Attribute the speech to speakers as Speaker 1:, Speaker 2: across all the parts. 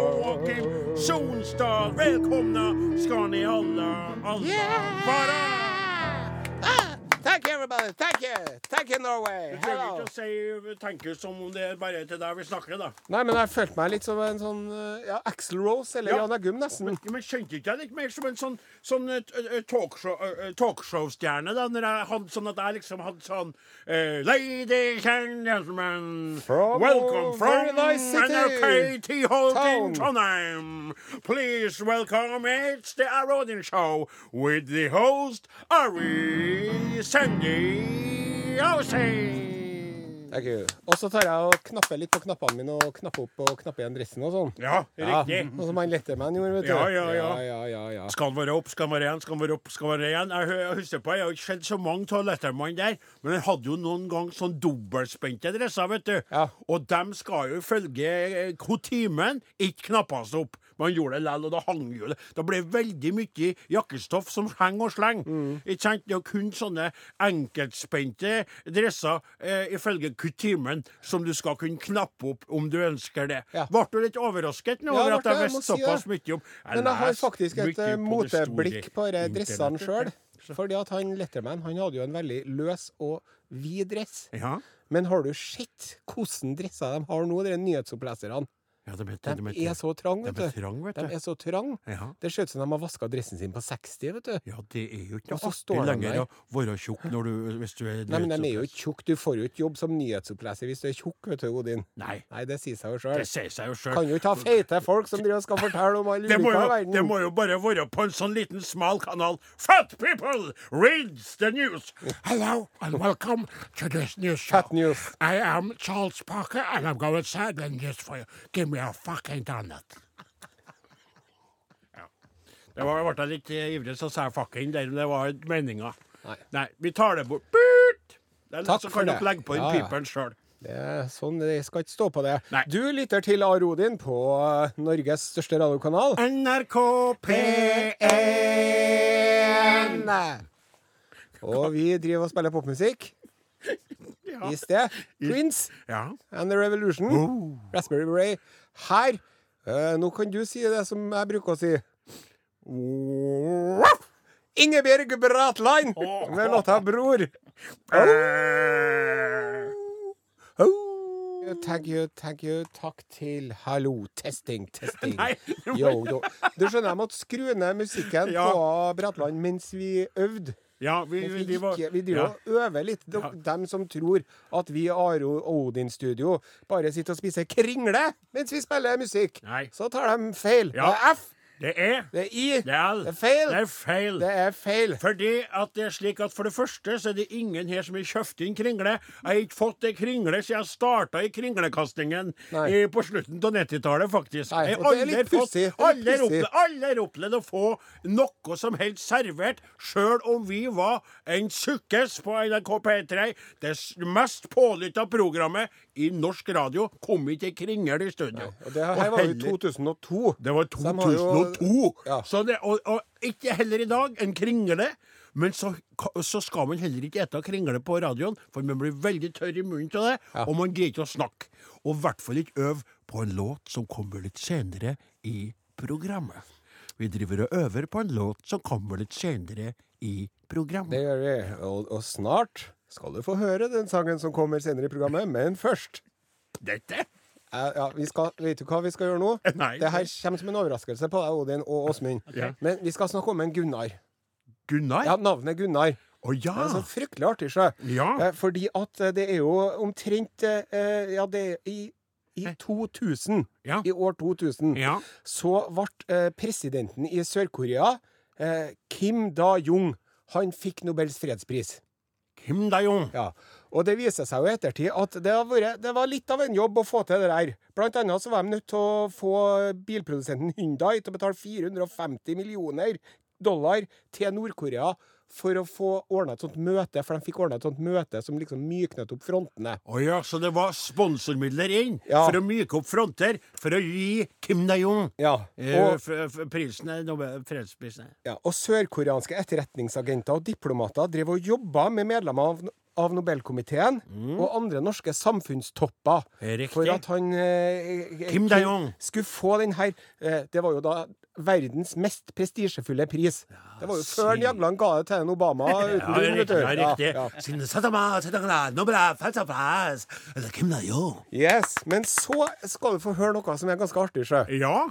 Speaker 1: Joakim Solstad. Välkomna ska ni alla, alla vara.
Speaker 2: Ah, thank you, everybody. Thank you. Thank you, Norway.
Speaker 1: Du trenger
Speaker 2: Hello.
Speaker 1: ikke å si tanker som om det er bare til deg vi snakker, da.
Speaker 2: Nei, men jeg følte meg litt som en sånn eh, ja, Axl Rose eller
Speaker 1: Ja.
Speaker 2: Jan Agum, nesten.
Speaker 1: Ja, Men skjønte ikke jeg litt mer som en sånn, sånn eh, t- eh, talkshow, eh, eh, talkshow-stjerne, da? Når jeg hadde sånn at jeg liksom hadde sånn eh, Ladies and gentlemen,
Speaker 2: From
Speaker 1: welcome
Speaker 2: a
Speaker 1: from
Speaker 2: very nice city,
Speaker 1: NRK Holt in
Speaker 2: town.
Speaker 1: Trondheim. Please welcome it's the Arodin Show with the host Ari Sandy Ausi.
Speaker 2: Thank you. Og så tar jeg og knapper litt på knappene mine og knapper opp og knapper igjen dressen og sånn.
Speaker 1: Ja, riktig.
Speaker 2: Sånn som han Letterman gjorde, vet du.
Speaker 1: Ja, ja, ja.
Speaker 2: ja, ja, ja, ja.
Speaker 1: Skal han være opp, skal han være igjen, skal han være opp, skal han være igjen? Jeg hø- Jeg husker på, jeg har ikke sett så mange av Letterman der, men han hadde jo noen gang sånn dobbeltspente dresser, vet du.
Speaker 2: Ja.
Speaker 1: Og dem skal jo ifølge eh, kutymen ikke knappes opp. Men han gjorde det likevel, og da hang jo det. Da ble det veldig mye jakkestoff som henger og slenger.
Speaker 2: Mm.
Speaker 1: Ikke sant? Det er jo kun sånne enkeltspente dresser eh, ifølge kutymen som du skal kunne knappe opp om du ønsker det.
Speaker 2: Ja.
Speaker 1: Ble du litt overrasket nå
Speaker 2: Ja,
Speaker 1: over at
Speaker 2: ble
Speaker 1: jeg
Speaker 2: det, jeg
Speaker 1: visste
Speaker 2: må si
Speaker 1: såpass
Speaker 2: det.
Speaker 1: mye om
Speaker 2: Men jeg har
Speaker 1: leser
Speaker 2: faktisk et
Speaker 1: mye
Speaker 2: eh,
Speaker 1: på det store
Speaker 2: moteblikk på de dressene
Speaker 1: internettet.
Speaker 2: sjøl. Fordi at han Letterman han hadde jo en veldig løs og vid dress.
Speaker 1: Ja.
Speaker 2: Men har du sett hvordan dresser de har nå, de nyhetsoppleserne?
Speaker 1: ja, de er, de
Speaker 2: De
Speaker 1: er,
Speaker 2: er så trang,
Speaker 1: de
Speaker 2: vet
Speaker 1: er
Speaker 2: du.
Speaker 1: trang, vet
Speaker 2: De
Speaker 1: du.
Speaker 2: er så trang.
Speaker 1: Ja.
Speaker 2: Det ser ut som de har vaska dressen sin på 60, vet du.
Speaker 1: ja, det er jo ikke
Speaker 2: Og så
Speaker 1: noe
Speaker 2: står
Speaker 1: artig
Speaker 2: de
Speaker 1: lenger
Speaker 2: der.
Speaker 1: å være tjukk når du, hvis du er
Speaker 2: Nei, men de er
Speaker 1: nyhetsoppleser.
Speaker 2: jo ikke tjukk. Du får jo ikke jobb som nyhetsoppleser hvis du er tjukk, vet du, Odin.
Speaker 1: Nei,
Speaker 2: Nei, det sier seg jo
Speaker 1: det
Speaker 2: sjøl.
Speaker 1: sier seg jo
Speaker 2: Kan
Speaker 1: sjøl.
Speaker 2: jo ikke ha feite folk som driver og skal fortelle om alle
Speaker 1: Det må,
Speaker 2: ulykker i
Speaker 1: jo, det
Speaker 2: verden.
Speaker 1: må jo bare være på en sånn liten smal kanal. Fat people reads the news! Hello and welcome to this news show.
Speaker 2: Fat news.
Speaker 1: I am Charles Parker and I'm going inside the news for you. Give me a fucking donut. Ja. Det var, ble jeg litt eh, ivrig, så sa jeg fucking der, men det var ikke meninga.
Speaker 2: Nei.
Speaker 1: vi tar det bort. Burt! Det er
Speaker 2: Takk
Speaker 1: litt så
Speaker 2: for
Speaker 1: kan
Speaker 2: det.
Speaker 1: dere legge på den
Speaker 2: Ja, ja.
Speaker 1: piperen sjøl.
Speaker 2: Det er sånn, det skal ikke stå på det.
Speaker 1: Nei.
Speaker 2: Du lytter til Are Odin på eh, Norges største radiokanal.
Speaker 1: NRK
Speaker 2: P1. Og vi driver og spiller popmusikk. I sted Prince
Speaker 1: Ja.
Speaker 2: and The Revolution. Raspberry Beret. Her eh, Nå kan du si det som jeg bruker å si. Ingebjørg Bratland med låta 'Bror'.
Speaker 1: Eh.
Speaker 2: Thank you, thank you. Takk til Hallo. Testing, testing.
Speaker 1: Nei, du må-
Speaker 2: Yo, yo. Du skjønner, jeg måtte skru ned musikken
Speaker 1: Ja.
Speaker 2: på Bratland mens vi øvde.
Speaker 1: Ja, vi,
Speaker 2: Mens
Speaker 1: vi,
Speaker 2: vi
Speaker 1: driver-
Speaker 2: gikk- vi driver
Speaker 1: ja.
Speaker 2: og øver litt. De, Dem som tror at vi i Aro Odin Studio bare sitter og spiser kringle mens vi spiller musikk,
Speaker 1: Nei.
Speaker 2: så tar de feil.
Speaker 1: Ja.
Speaker 2: Det er F,
Speaker 1: Det er
Speaker 2: det er I,
Speaker 1: Det er,
Speaker 2: det er feil.
Speaker 1: Det er feil.
Speaker 2: Det er feil.
Speaker 1: Fordi at det er slik at For det første så er det ingen her som har kjøpt inn kringle. Jeg har ikke fått ei kringle siden jeg starta i kringlekastingen
Speaker 2: Nei.
Speaker 1: eh, på slutten av 90-tallet, faktisk.
Speaker 2: Nei,
Speaker 1: jeg
Speaker 2: og det er
Speaker 1: aldri
Speaker 2: litt
Speaker 1: fått-
Speaker 2: pussig. Det er litt
Speaker 1: Aldri
Speaker 2: pussig.
Speaker 1: opplevd, aldri opplevd å få noe som helst servert, sjøl om vi var en sukkes på NRK P3. Det s- mest pålytta programmet i norsk radio kom ikke ei kringle i studio.
Speaker 2: Og det her var jo i
Speaker 1: heller-
Speaker 2: 2002.
Speaker 1: det var
Speaker 2: Så de har jo-
Speaker 1: 2002!
Speaker 2: Ja.
Speaker 1: Så det, og, og ikke heller i dag. En kringle. Men så, ka- så skal man heller ikke ete kringle på radioen, for man blir veldig tørr i munnen av det, og man greier ikke å snakke. Og i hvert fall ikke øve på en låt som kommer litt senere i programmet. Vi driver og øver på en låt som kommer litt senere i programmet.
Speaker 2: Det gjør vi. Og, og snart skal du få høre den sangen som kommer senere i programmet, men først
Speaker 1: Dette?
Speaker 2: Eh, Ja, vi skal, vet du hva vi skal gjøre nå?
Speaker 1: Nei.
Speaker 2: Det her kommer som en overraskelse på deg, Odin og Åsmund.
Speaker 1: Ja.
Speaker 2: Men vi skal snakke om en Gunnar.
Speaker 1: Gunnar? Å
Speaker 2: Ja, navnet Gunnar.
Speaker 1: ja!
Speaker 2: Det er så fryktelig artig, sjø.
Speaker 1: Ah. Ja.
Speaker 2: Eh, Fordi at eh, det er jo omtrent eh, eh, Ja, det er i, i 2000.
Speaker 1: Ja.
Speaker 2: I år 2000.
Speaker 1: ja.
Speaker 2: Så ble eh, presidenten i Sør-Korea, eh, Kim Da-jung, han fikk Nobels fredspris.
Speaker 1: Kim Dae-jong.
Speaker 2: Ja, og det viser seg jo i ettertid at det, har vært, det var litt av en jobb å få til det der. Blant annet så var de nødt til å få bilprodusenten Hyundai til å betale 450 millioner dollar til Nord-Korea for å få ordna et sånt møte, for de fikk ordna et sånt møte som liksom myknet opp frontene.
Speaker 1: Å ja, så det var sponsormidler inn
Speaker 2: Ja.
Speaker 1: for å myke opp fronter, for å gi Kim Dae-jung
Speaker 2: Ja,
Speaker 1: eh,
Speaker 2: og,
Speaker 1: f- f- prisen er Nobel- fredsprisen.
Speaker 2: ja, og sørkoreanske etterretningsagenter og diplomater drev og jobba med medlemmer av av Nobelkomiteen og andre norske samfunnstopper
Speaker 1: Mm. Riktig.
Speaker 2: for at han eh,
Speaker 1: Kim Dae-jung.
Speaker 2: skulle få den her. Eh, det var jo da verdens mest prestisjefulle pris. det var jo før
Speaker 1: si.
Speaker 2: Jagland ga det til en Obama uten
Speaker 1: Ja,
Speaker 2: grunn,
Speaker 1: riktig.
Speaker 2: vet du.
Speaker 1: Ja, riktig.
Speaker 2: Ja, ja.
Speaker 1: Sin satama, satama, nobla, falsafas. Eller Altså, Kim Dae-jung.
Speaker 2: Yes, Men så skal du få høre noe som er ganske artig. Sjø.
Speaker 1: Ja.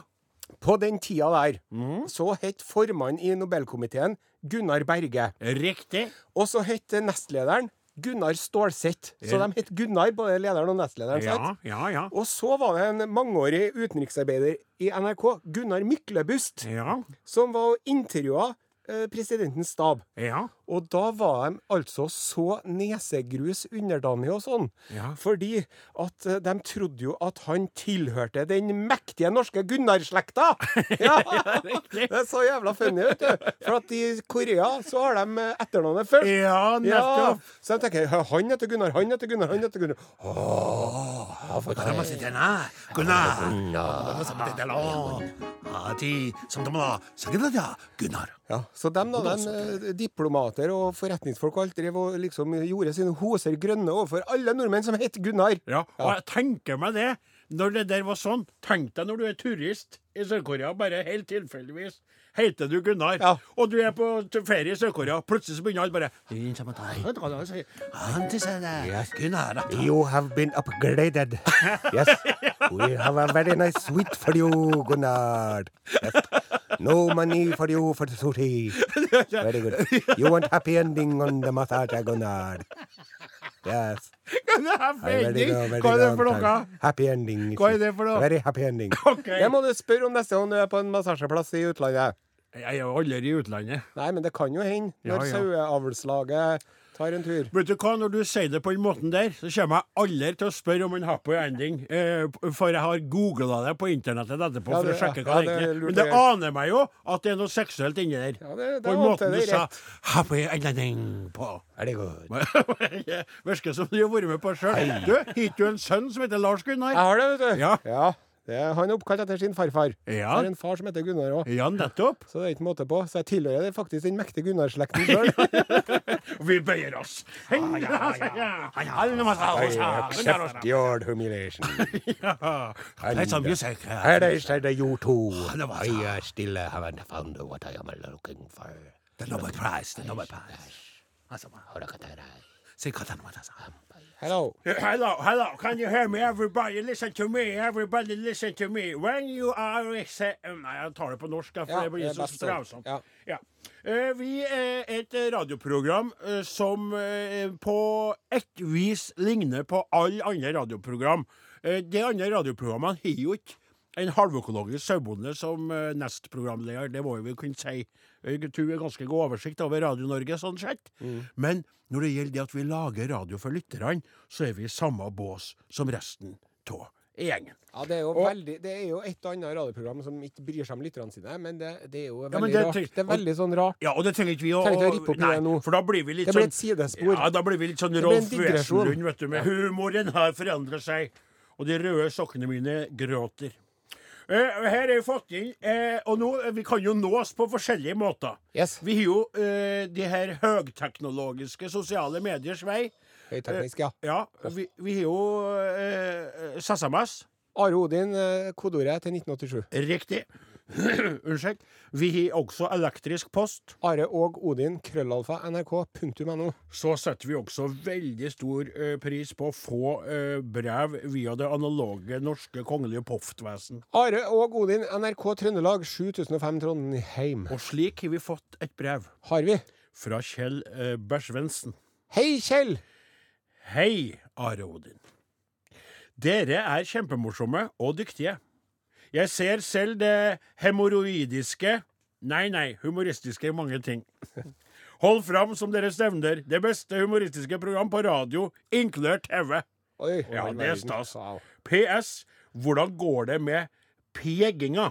Speaker 2: På den tida der
Speaker 1: Mhm.
Speaker 2: så het formannen i Nobelkomiteen Gunnar Berge.
Speaker 1: Riktig.
Speaker 2: Og så het nestlederen Gunnar Stålsett. Så de het Gunnar, både lederen og nestlederen. sant?
Speaker 1: Ja, ja, ja.
Speaker 2: Og så var det en mangeårig utenriksarbeider i NRK, Gunnar Myklebust,
Speaker 1: Ja.
Speaker 2: som var og intervjua eh, presidentens stab.
Speaker 1: Ja.
Speaker 2: Og da var de altså så nesegrus underdanige og sånn,
Speaker 1: Ja.
Speaker 2: fordi at eh, de trodde jo at han tilhørte den mektige norske Gunnar-slekta! Ja.
Speaker 1: riktig.
Speaker 2: det er så jævla funny, vet du. For at i Korea så har de eh, etternavnet først.
Speaker 1: Ja,
Speaker 2: Ja,
Speaker 1: nettopp.
Speaker 2: så jeg tenker «Hæ, han heter Gunnar, han heter Gunnar, han heter Gunnar. Åh, for
Speaker 1: Ja.
Speaker 2: det-
Speaker 1: Gunnar.
Speaker 2: Ja, så dem da, dem, eh, diplomater og forretningsfolk og alt drev og liksom gjorde sine hoser grønne overfor alle nordmenn som het Gunnar.
Speaker 1: Ja, og jeg tenker meg det. Når det der var sånn, tenk deg når du er turist i Sør-Korea, bare helt tilfeldigvis heter du Gunnar,
Speaker 2: Ja.
Speaker 1: og du er på t- ferie i Sør-Korea, plutselig så begynner alle bare «Inn sammen med deg». Vet du hva han sier? «Han til seg der, Gunnar, da».
Speaker 2: You have been upgraded. Yes. We have a very nice suite for you, Gunnar. Yes. No money for you for the sushi. Very good. You want happy ending on the massage, Gunnar. Yes.
Speaker 1: Gunnar,
Speaker 2: Very
Speaker 1: vending.
Speaker 2: good, very
Speaker 1: Hva er det
Speaker 2: good,
Speaker 1: for noe?
Speaker 2: Gunnar. Happy ending.
Speaker 1: Hva er det for noe?
Speaker 2: Very happy ending.
Speaker 1: Ok.
Speaker 2: Det må du spørre om neste gang du er på en massasjeplass i utlandet.
Speaker 1: Jeg er jo aldri i utlandet.
Speaker 2: Nei, men det kan jo hende
Speaker 1: Ja,
Speaker 2: når
Speaker 1: ja.
Speaker 2: saueavlslaget tar en tur.
Speaker 1: Vet du hva, Når du sier det på den måten der, så kommer jeg aldri til å spørre om en happy ending. Eh, for jeg har googla det på internettet etterpå
Speaker 2: Ja,
Speaker 1: for å
Speaker 2: det-
Speaker 1: sjekke
Speaker 2: ja,
Speaker 1: hva
Speaker 2: det
Speaker 1: det egentlig er.
Speaker 2: lurte
Speaker 1: Men det
Speaker 2: jeg.
Speaker 1: aner meg jo at det er noe seksuelt inni der.
Speaker 2: Ja,
Speaker 1: på
Speaker 2: det- det
Speaker 1: den
Speaker 2: håper
Speaker 1: måten du
Speaker 2: jeg det er
Speaker 1: sa 'happy ending' på.
Speaker 2: Er det godt?
Speaker 1: Virker som du har vært med på sjøl. Du, har du en sønn som heter Lars
Speaker 2: Jeg
Speaker 1: Gunnar?
Speaker 2: har det, vet du.
Speaker 1: Ja.
Speaker 2: det er, han er oppkalt etter sin farfar.
Speaker 1: Ja.
Speaker 2: Så er det en far som heter Gunnar òg.
Speaker 1: Ja, nettopp.
Speaker 2: Så det er ikke måte på. Så jeg tilhører det faktisk den mektige Gunnar-slekten sjøl.
Speaker 1: Vi bøyer oss.
Speaker 2: Your humiliation.
Speaker 1: Play some music.
Speaker 2: Her er said that you too.
Speaker 1: det var så.
Speaker 2: I still haven't found what I am looking for.
Speaker 1: The Nobel Prize. The Nobel Prize. Altså, Si hva den måtte si.
Speaker 2: Hello.
Speaker 1: Hello, hello. Can you hear me? Everybody, listen to me. Everybody, listen to me. When you are exe- Nei, jeg tar det på norsk, for
Speaker 2: Ja,
Speaker 1: det blir
Speaker 2: det er
Speaker 1: så
Speaker 2: best sånn.
Speaker 1: strevsomt.
Speaker 2: Ja.
Speaker 1: Ja. Eh, Vi er et radioprogram eh, som eh, på ett vis ligner på alle andre radioprogram. Eh, De andre radioprogrammene har jo ikke en halvøkologisk sauebonde som eh, nestprogramleder, det må vi vel kunne si. Jeg tror vi har ganske god oversikt over Radio-Norge, sånn sett.
Speaker 2: Mm.
Speaker 1: Men når det gjelder det at vi lager radio for lytterne, så er vi i samme bås som resten av gjengen.
Speaker 2: Ja, det er jo, veldig, det er jo et og annet radioprogram som ikke bryr seg om lytterne sine, men det, det er jo veldig
Speaker 1: men det
Speaker 2: rart.
Speaker 1: tenk-
Speaker 2: Det er veldig sånn rart.
Speaker 1: Ja, og det trenger ikke vi å,
Speaker 2: Trenger ikke å rippe opp i
Speaker 1: nei,
Speaker 2: det nå.
Speaker 1: For da blir vi litt
Speaker 2: Det blir
Speaker 1: sånn-
Speaker 2: et sidespor.
Speaker 1: Ja, da blir vi litt sånn
Speaker 2: blir en
Speaker 1: Rolf
Speaker 2: digresjon.
Speaker 1: Wesenlund, vet du. Med humoren har forandret seg. Og de røde sokkene mine gråter. Eh, her er vi fått inn eh, Og nå, eh, vi kan jo nås på forskjellige måter.
Speaker 2: Yes.
Speaker 1: Vi har jo eh, de her høgteknologiske sosiale mediers vei.
Speaker 2: Høyteknisk, ja.
Speaker 1: Ja, vi, vi har jo eh, eh, SMS.
Speaker 2: Are Odin, eh, kodeordet til 1987.
Speaker 1: Riktig. Unnskyld. Vi har også elektrisk post.
Speaker 2: Are og Odin, krøllalfa, nrk.no.
Speaker 1: så setter vi også veldig stor eh, pris på å få eh, brev via det analoge norske kongelige poftvesen.
Speaker 2: Are og Odin, NRK Trøndelag, 7005 Trondheim.
Speaker 1: Og slik har vi fått et brev
Speaker 2: Har vi?
Speaker 1: fra Kjell eh, Bersvensen.
Speaker 2: Hei, Kjell!
Speaker 1: Hei, Are Odin. Dere er kjempemorsomme og dyktige. Jeg ser selv det hemoroidiske Nei, nei, humoristiske i mange ting. Hold fram som deres nevner det beste humoristiske program på radio, inkludert TV.
Speaker 2: Oi,
Speaker 1: Ja,
Speaker 2: all
Speaker 1: det er
Speaker 2: verden.
Speaker 1: stas.
Speaker 2: Wow.
Speaker 1: PS. Hvordan går det med peginga?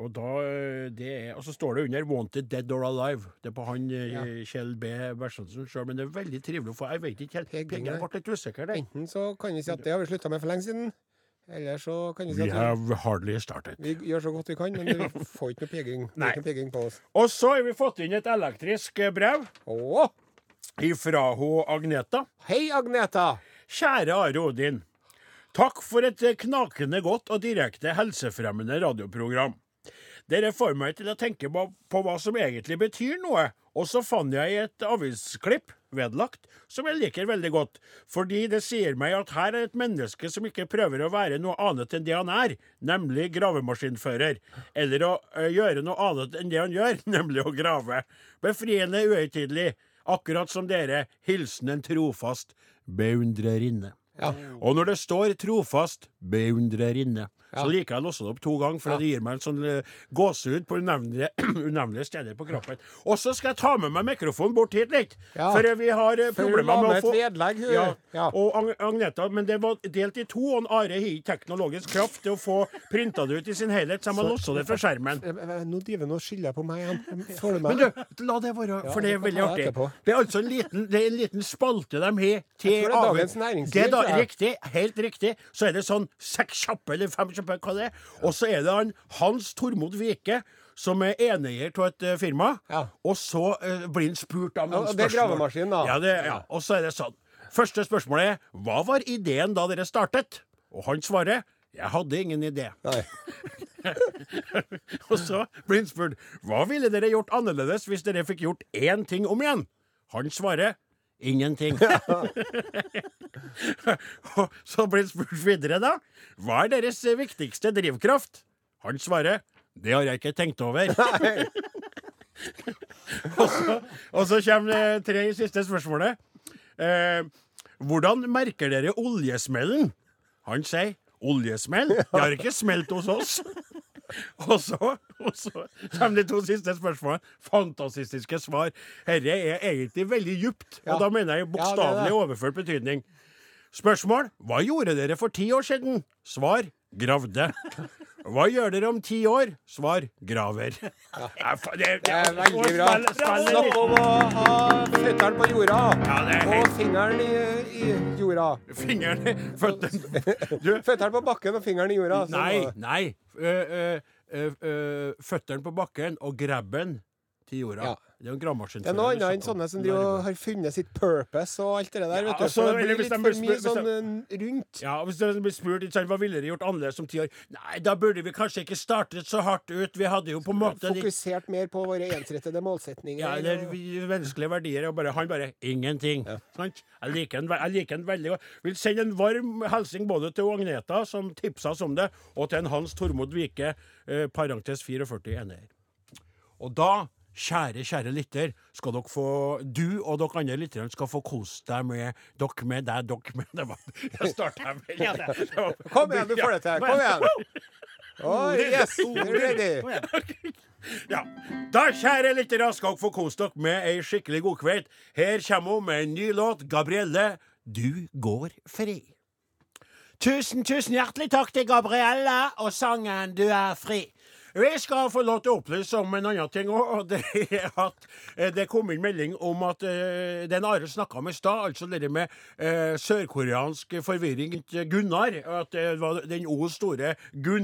Speaker 1: Og da, eh, det er, og så står det under 'Wanted Dead or Alive'. Det er på han eh, Kjell B. Bersensen sjøl, men det er veldig trivelig å få. Jeg vet ikke helt.
Speaker 2: Peginga.
Speaker 1: Peginga ble litt usikker, den.
Speaker 2: Enten så kan vi si at det har vi slutta med for lenge siden, eller så kan vi si
Speaker 1: We
Speaker 2: at vi,
Speaker 1: have hardly started.
Speaker 2: vi gjør så godt vi kan, men vi får ikke noe peking, det er
Speaker 1: Nei.
Speaker 2: ikke noe peking på oss.
Speaker 1: Og så har vi fått inn et elektrisk eh, brev.
Speaker 2: Åh!
Speaker 1: ifra ho Agneta.
Speaker 2: Hei, Agneta.
Speaker 1: Kjære Are Odin. Takk for et eh, knakende godt og direkte helsefremmende radioprogram. Dere får meg til å tenke på, på hva som egentlig betyr noe, og så fant jeg et avisklipp, vedlagt, som jeg liker veldig godt, fordi det sier meg at her er et menneske som ikke prøver å være noe annet enn det han er, nemlig gravemaskinfører, eller å eh, gjøre noe annet enn det han gjør, nemlig å grave. Befriende uhøytidelig, akkurat som dere, hilsen en trofast beundrerinne.
Speaker 2: Ja.
Speaker 1: Og når det står 'trofast beundrerinne', så liker jeg å låse det opp to ganger, for det gir meg en sånn eh, gåsehud på unevnelige, unevnelige steder på kroppen. Og så skal jeg ta med meg mikrofonen bort hit litt,
Speaker 2: Ja.
Speaker 1: for eh, vi har eh,
Speaker 2: For hun
Speaker 1: problemer
Speaker 2: la
Speaker 1: med å
Speaker 2: med
Speaker 1: få
Speaker 2: et vedlegg, hun.
Speaker 1: Ja.
Speaker 2: Ja.
Speaker 1: Og Ag- Agneta, men det var delt i to, og Are har ikke teknologisk kraft til å få printa det ut i sin helhet, så jeg må låse det fra skjermen.
Speaker 2: Eh, eh, Nå driver hun og skylder på meg igjen. Får du
Speaker 1: Men du,
Speaker 2: meg?
Speaker 1: la det være, for det er
Speaker 2: vi kan
Speaker 1: veldig
Speaker 2: ta
Speaker 1: artig.
Speaker 2: det etterpå.
Speaker 1: Det er altså en liten, det er en liten spalte de har til
Speaker 2: Jeg tror det er
Speaker 1: av-
Speaker 2: Dagens Næringsliv,
Speaker 1: Det er da,
Speaker 2: tror jeg.
Speaker 1: riktig, helt riktig. Så er det sånn seks kjappe eller fem kjappe, hva det er. Og så er det han Hans Tormod Vike. Som er eneeier av et eh, firma.
Speaker 2: Ja.
Speaker 1: Og så eh, blir han spurt om
Speaker 2: Ja,
Speaker 1: noen
Speaker 2: og det er
Speaker 1: spørsmål.
Speaker 2: gravemaskinen, da.
Speaker 1: Ja, det, ja. Og så er det sånn. Første spørsmålet er Hva var ideen da dere startet? Og han svarer Jeg hadde ingen idé.
Speaker 2: Nei.
Speaker 1: Og så blir han spurt hva ville dere gjort annerledes hvis dere fikk gjort én ting om igjen. Han svarer ingenting. Og så blir han spurt videre, da. Hva er deres viktigste drivkraft? Han svarer det har jeg ikke tenkt over. og, så, og så kommer det tre siste spørsmålet. Eh, hvordan merker dere oljesmellen? Han sier oljesmell? Det har ikke smelt hos oss. Og så, og så kommer de to siste spørsmålene. Fantastiske svar. Herre er egentlig veldig djupt,
Speaker 2: Ja.
Speaker 1: og da mener jeg i bokstavelig overført betydning. Spørsmål Hva gjorde dere for ti år siden? Svar gravde. Hva gjør dere om ti år? Svar graver. Ja, fa- det,
Speaker 2: Det er veldig bra.
Speaker 1: Spill- spill en
Speaker 2: Snakk
Speaker 1: liten-
Speaker 2: om å ha føttene på jorda.
Speaker 1: Ja, det er
Speaker 2: Og
Speaker 1: helt-
Speaker 2: fingeren i, i jorda.
Speaker 1: Fingeren i føttene Du,
Speaker 2: Føttene på bakken og fingeren i jorda. sånn
Speaker 1: nei,
Speaker 2: var det.
Speaker 1: nei. Uh, Føttene på bakken og grabben til jorda.
Speaker 2: Ja.
Speaker 1: Det sånn. er jo en gravemaskin.
Speaker 2: Det er noe annet enn sånne som driver og har funnet sitt purpose og alt det der.
Speaker 1: Ja,
Speaker 2: vet du.
Speaker 1: altså,
Speaker 2: For det
Speaker 1: eller
Speaker 2: blir
Speaker 1: hvis
Speaker 2: litt
Speaker 1: de
Speaker 2: for
Speaker 1: blir
Speaker 2: mye
Speaker 1: spurt-
Speaker 2: sånn
Speaker 1: hvis
Speaker 2: eh, rundt.
Speaker 1: Ja, og Hvis dere blir spurt ikke sant, hva ville dere gjort annerledes om ti år, Nei, da burde vi kanskje ikke startet så hardt ut. Vi hadde jo på en måte litt
Speaker 2: Fokusert mer på våre ensrettede målsetninger.
Speaker 1: ja, eller vi- menneskelige verdier. Og bare, han bare ingenting. Sant? Jeg liker han jeg liker han veldig godt. Vil sende en varm hilsen både til Agneta, som tipsa oss om det, og til en Hans Tormod Vike, eh, parentes 44 ener. Og da, kjære, kjære lytter, skal dere få Du og dere andre lytterne skal få kose deg med dere med deg, dere med det var, Jeg starta med ja, det- det var-
Speaker 2: Kom igjen, du får det til. Kom igjen. Oh, yes, ready.
Speaker 1: Ja. Da, kjære lyttere, skal dere få kose dere med ei skikkelig god kveld. Her kommer hun med en ny låt, 'Gabrielle, du går fri'. Tusen, tusen hjertelig takk til Gabrielle og sangen 'Du er fri'. Vi skal få lov til å opplyse om en annen ting òg, og det er at eh, det kom inn melding om at eh, den Are snakka om i stad, altså det der med eh, sørkoreansk forvirring rundt Gunnar, at det var den O store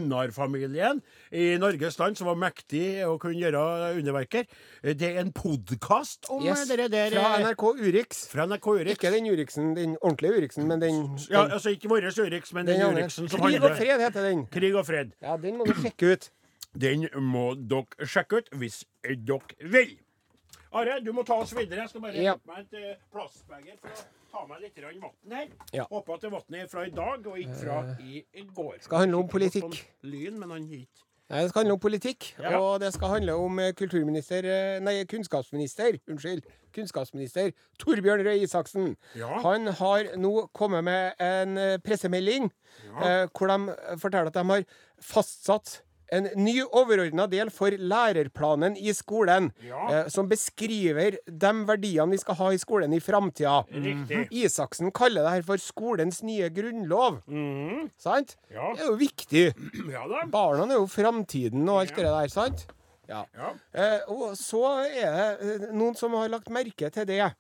Speaker 1: Gunnar-familien i Norges land som var mektig og kunne gjøre underverker. Eh, Det er en podkast om
Speaker 2: Yes.
Speaker 1: det der
Speaker 2: Fra
Speaker 1: eh,
Speaker 2: NRK Urix.
Speaker 1: fra NRK Urix.
Speaker 2: Ikke den Uriksen, den ordentlige Uriksen, men den,
Speaker 1: Ja,
Speaker 2: den,
Speaker 1: altså ikke vår Urix, men den
Speaker 2: andre.
Speaker 1: Uriksen som
Speaker 2: Krig og
Speaker 1: handler
Speaker 2: fred heter den.
Speaker 1: Krig og fred.
Speaker 2: Ja, den må du sjekke ut.
Speaker 1: Den må dere sjekke ut hvis dere vil. Are, du må ta oss videre. Jeg skal bare
Speaker 2: Ja.
Speaker 1: hente meg et eh, plastbeger for å ta meg litt grann vann her.
Speaker 2: Ja. Eh,
Speaker 1: Håper at det vannet er fra i dag og ikke fra i i går.
Speaker 2: Skal handle om
Speaker 1: Kikker bort
Speaker 2: politikk.
Speaker 1: på en Lyn, men han hit.
Speaker 2: Nei, Det skal handle om politikk,
Speaker 1: Ja.
Speaker 2: og det skal handle om eh, kulturminister eh, Nei, kunnskapsminister. Unnskyld. Kunnskapsminister Torbjørn Røe Isaksen.
Speaker 1: Ja.
Speaker 2: Han har nå kommet med en eh, pressemelding eh, hvor de forteller at de har fastsatt en ny overordna del for lærerplanen i skolen,
Speaker 1: Ja.
Speaker 2: eh, som beskriver de verdiene vi skal ha i skolen i framtida.
Speaker 1: Riktig.
Speaker 2: Isaksen kaller det her for skolens nye grunnlov. Sant?
Speaker 1: Mhm. Ja.
Speaker 2: Det er jo viktig.
Speaker 1: Ja da.
Speaker 2: Barna er jo framtiden og alt det der, sant? Ja.
Speaker 1: Ja.
Speaker 2: Eh, og så er det eh, noen som har lagt merke til det, eh,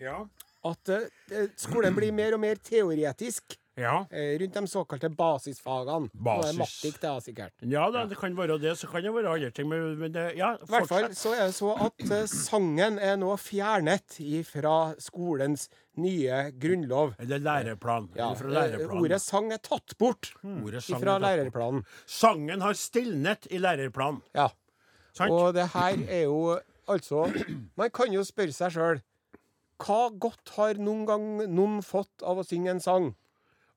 Speaker 1: Ja.
Speaker 2: at eh, skolen blir mer og mer teoretisk.
Speaker 1: Ja.
Speaker 2: eh, rundt de såkalte basisfagene. Nå er det
Speaker 1: Basis.
Speaker 2: Matik, det er sikkert.
Speaker 1: ja da, det kan være det. Så kan det være andre ting. Men, men det, ja,
Speaker 2: I hvert fall
Speaker 1: fortsett.
Speaker 2: så er det så at eh, sangen er nå fjernet fra skolens nye grunnlov.
Speaker 1: Eller læreplan.
Speaker 2: Ja,
Speaker 1: Eller fra
Speaker 2: eh,
Speaker 1: læreplanen.
Speaker 2: ordet sang er tatt bort
Speaker 1: Ordet sang
Speaker 2: fra
Speaker 1: er tatt bort.
Speaker 2: lærerplanen.
Speaker 1: Sangen har stilnet i lærerplanen.
Speaker 2: Ja.
Speaker 1: Sant?
Speaker 2: Og det her er jo altså Man kan jo spørre seg sjøl hva godt har noen gang noen fått av å synge en sang?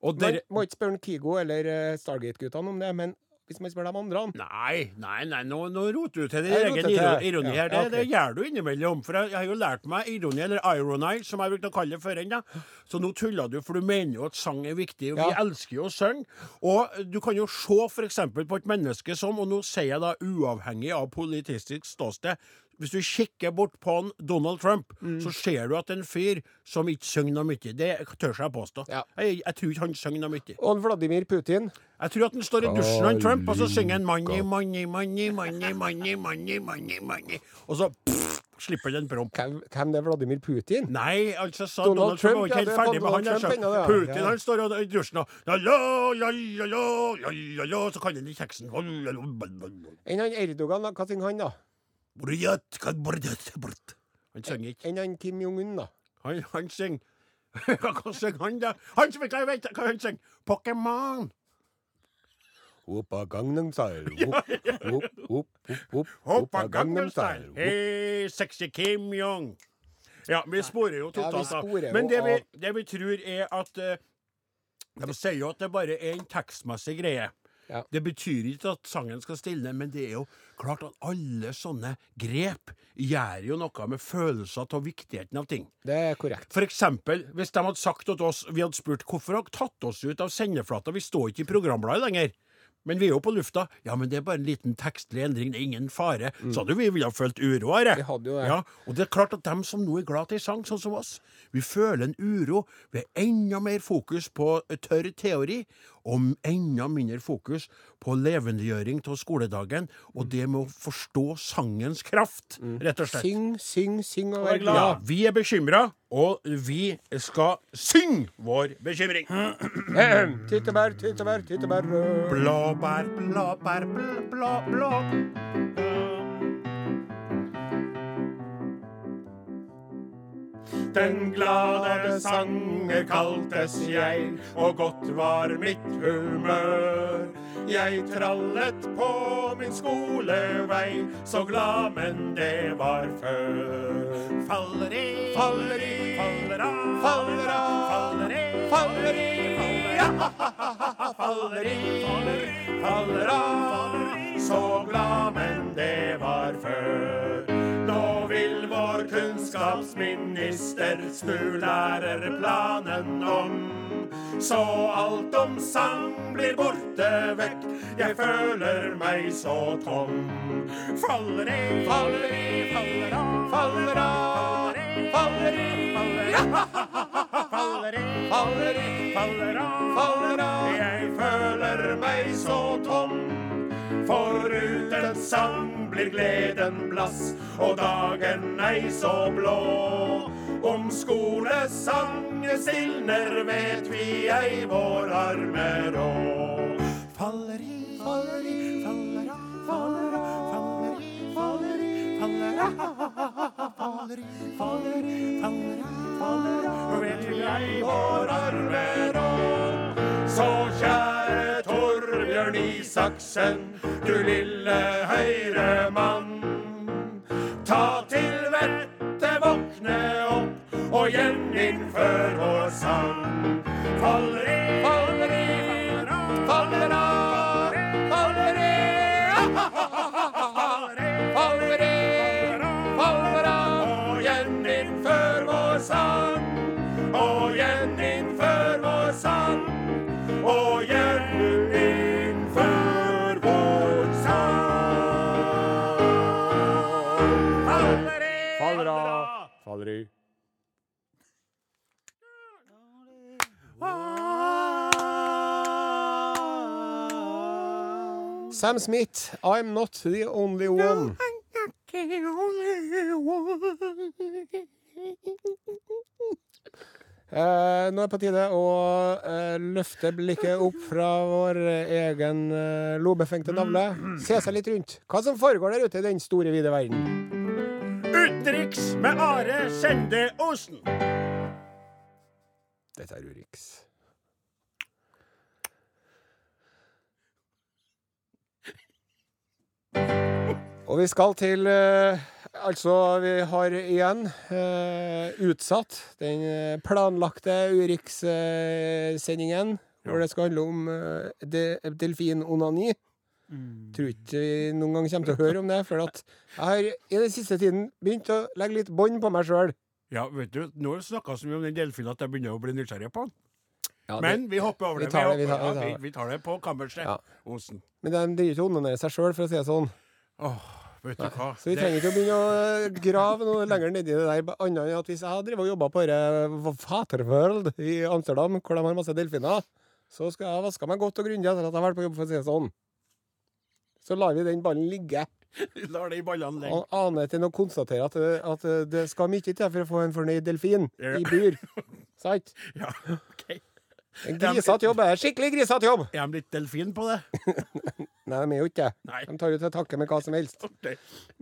Speaker 1: Og
Speaker 2: Man
Speaker 1: dere
Speaker 2: må ikke spørre Kigo eller eh, Stargate-guttene om det, men hvis man spør de andre
Speaker 1: Nei, nei, nei, nå, nå roter du til din
Speaker 2: Jeg
Speaker 1: egen
Speaker 2: roter til
Speaker 1: iro-
Speaker 2: det.
Speaker 1: ironi
Speaker 2: Ja,
Speaker 1: her. Det,
Speaker 2: ja, ok.
Speaker 1: det gjør du innimellom. For jeg, jeg har jo lært meg ironi, eller ironi, som jeg brukte å kalle det før enn da. Så nå tuller du, for du mener jo at sang er viktig. Og vi
Speaker 2: Ja.
Speaker 1: elsker jo å synge. Og du kan jo se f.eks. på et menneske som, og nå sier jeg da uavhengig av politistisk ståsted hvis du kikker bort på han Donald Trump,
Speaker 2: Mm.
Speaker 1: så ser du at en fyr som ikke synger noe mye. Det tør jeg påstå.
Speaker 2: Ja.
Speaker 1: Jeg, jeg tror ikke han synger noe mye.
Speaker 2: Og Vladimir Putin
Speaker 1: Jeg tror at han står i dusjen han Trump, og så synger han 'money, money, money, money, money, money, money, money'. Og så pff, slipper han en promp.
Speaker 2: Hvem, hvem det er Vladimir Putin?
Speaker 1: Nei, altså sa
Speaker 2: Donald
Speaker 1: Donald, Trump
Speaker 2: Trump,
Speaker 1: var
Speaker 2: ja,
Speaker 1: ikke helt
Speaker 2: det er
Speaker 1: ferdig med han.
Speaker 2: Donald
Speaker 1: der,
Speaker 2: Trump
Speaker 1: skjønte.
Speaker 2: ennå, det, ja.
Speaker 1: Putin
Speaker 2: Ja.
Speaker 1: han står og- i dusjen og la, la, la, la, la, la, la, la, Så kan han den kjeksen La, la, la, la, la, la.
Speaker 2: Enn han Erdogan, da? Hva synger han, da?
Speaker 1: Brujat, kan brujat, brujat. Han synger ikke.
Speaker 2: Enn han Kim Jong-un, da?
Speaker 1: Han, han synger Hva synger han, da? Han som ikke vet hva han synger! Pokémon!
Speaker 2: Oppa Gangnam Style. Opp, opp, opp, opp, opp,
Speaker 1: Hoppa Gangnam Style. Hei, sexy Kim Jong. Ja, vi sporer jo
Speaker 2: Ja, vi
Speaker 1: totalt av.
Speaker 2: sporer jo
Speaker 1: Men det vi,
Speaker 2: av.
Speaker 1: det vi tror, er at eh, De sier jo at det bare er en tekstmessig greie.
Speaker 2: Ja.
Speaker 1: Det betyr ikke at sangen skal stilne, men det er jo klart at alle sånne grep gjør jo noe med følelser av viktigheten av ting.
Speaker 2: Det er korrekt.
Speaker 1: For eksempel, hvis de hadde sagt til oss, vi hadde spurt hvorfor har dere tatt oss ut av sendeflata, vi står ikke i programbladet lenger. Men vi er jo på lufta. Ja, men det er bare en liten tekstlig endring, det er ingen fare. Så hadde jo vi ville ha følt uro av det.
Speaker 2: Mm. Vi hadde jo det.
Speaker 1: Ja, og det er klart at dem som nå er glad til sang, sånn som oss, vi føler en uro. Vi har enda mer fokus på tørr teori, og enda mindre fokus på levendegjøring av skoledagen,
Speaker 2: Mm.
Speaker 1: og det med å forstå sangens kraft, rett og slett.
Speaker 2: Syng, syng, syng og vær
Speaker 1: Ja,
Speaker 2: glad.
Speaker 1: vi er bekymra, og vi skal synge vår bekymring.
Speaker 2: Ahem. Tyttebær, tyttebær, tyttebær rød.
Speaker 1: Blåbær, blåbær, blå, blå, blå. Den glade sanger kaltes jeg, og godt var mitt humør. Jeg trallet på min skolevei, så glad men det var før. Faller i, faller i, faller av, faller av, faller i, faller i, faller i, faller av. Så glad, men det var før. Nå vil vår kunnskapsminister snu lærerplanen om. Så alt om sang blir borte vekk, jeg føler meg så tom. Faller i, faller i, faller av, faller av, faller i, faller av. Faller i, faller i, faller av, faller av. Jeg føler meg så tom. Foruten sang blir gleden blass, og dagen ei så blå. Om skolesang stilner, vet vi ei vår arme råd. Faller i, faller i, faller av, faller av, faller i, faller i, faller av. Faller i, faller i, faller av, faller av, vet vi ei vår arme råd. Så kjære Torbjørn Isaksen, du lille høyremann. Ta til vettet, våkne opp og gjeninnfør vår sang. Faller i, faller i, faller av, faller av, faller i. Faller i, faller i, faller av. Og gjeninnfør vår sang. Og gjeninnfør vår sang. Og gjeninnfør vår sang. Faller i,
Speaker 2: Faller av, faller i. Sam Smith, I'm not the only one. Eh, nå er det på tide å eh, løfte blikket opp fra vår egen eh, lobefengte navle. Se seg litt rundt. Hva som foregår der ute i den store, vide verden.
Speaker 1: Utenriks med Are Sende Osen.
Speaker 2: Dette er Urix. Og vi skal til eh, Altså, vi har igjen eh, utsatt den eh, planlagte Urix-sendingen. Hvor det skal handle om eh, de- delfinonani. Tror ikke vi noen gang kommer til å høre om det. For at jeg har i den siste tiden begynt å legge litt bånd på meg sjøl.
Speaker 1: Ja, vet du, nå snakka vi om den delfinen at jeg begynner å bli nysgjerrig på den. Men vi hopper over
Speaker 2: vi
Speaker 1: det.
Speaker 2: tar det, vi
Speaker 1: hopper-
Speaker 2: tar- vi
Speaker 1: ja,
Speaker 2: tar det.
Speaker 1: vi, vi tar det på kammerset.
Speaker 2: Ja.
Speaker 1: Osen.
Speaker 2: Men de driver ikke og onanerer seg sjøl, for å si det sånn.
Speaker 1: Åh, vet du hva.
Speaker 2: Så vi trenger ikke å begynne å eh, grave noe lenger nedi det der. ba- Annet enn at hvis jeg hadde drevet og jobba på dette Faterworld i Amsterdam, hvor de har masse delfiner, så skal jeg ha vaska meg godt og grundig etter at jeg har vært på jobb, for å si det sånn. Så lar vi den ballen ligge.
Speaker 1: Det, lar det i ballene ligge.
Speaker 2: Og annet enn å konstatere at, eh, at eh, det skal mye til for å få en fornøyd delfin
Speaker 1: Ja.
Speaker 2: i bur. Sant?
Speaker 1: Ja, ok.
Speaker 2: En grisete jobb er en skikkelig grisete jobb!
Speaker 1: Er de litt delfin på det?
Speaker 2: Nei, de er jo ikke det.
Speaker 1: Nei.
Speaker 2: De tar jo til takke med hva som helst.
Speaker 1: Ok.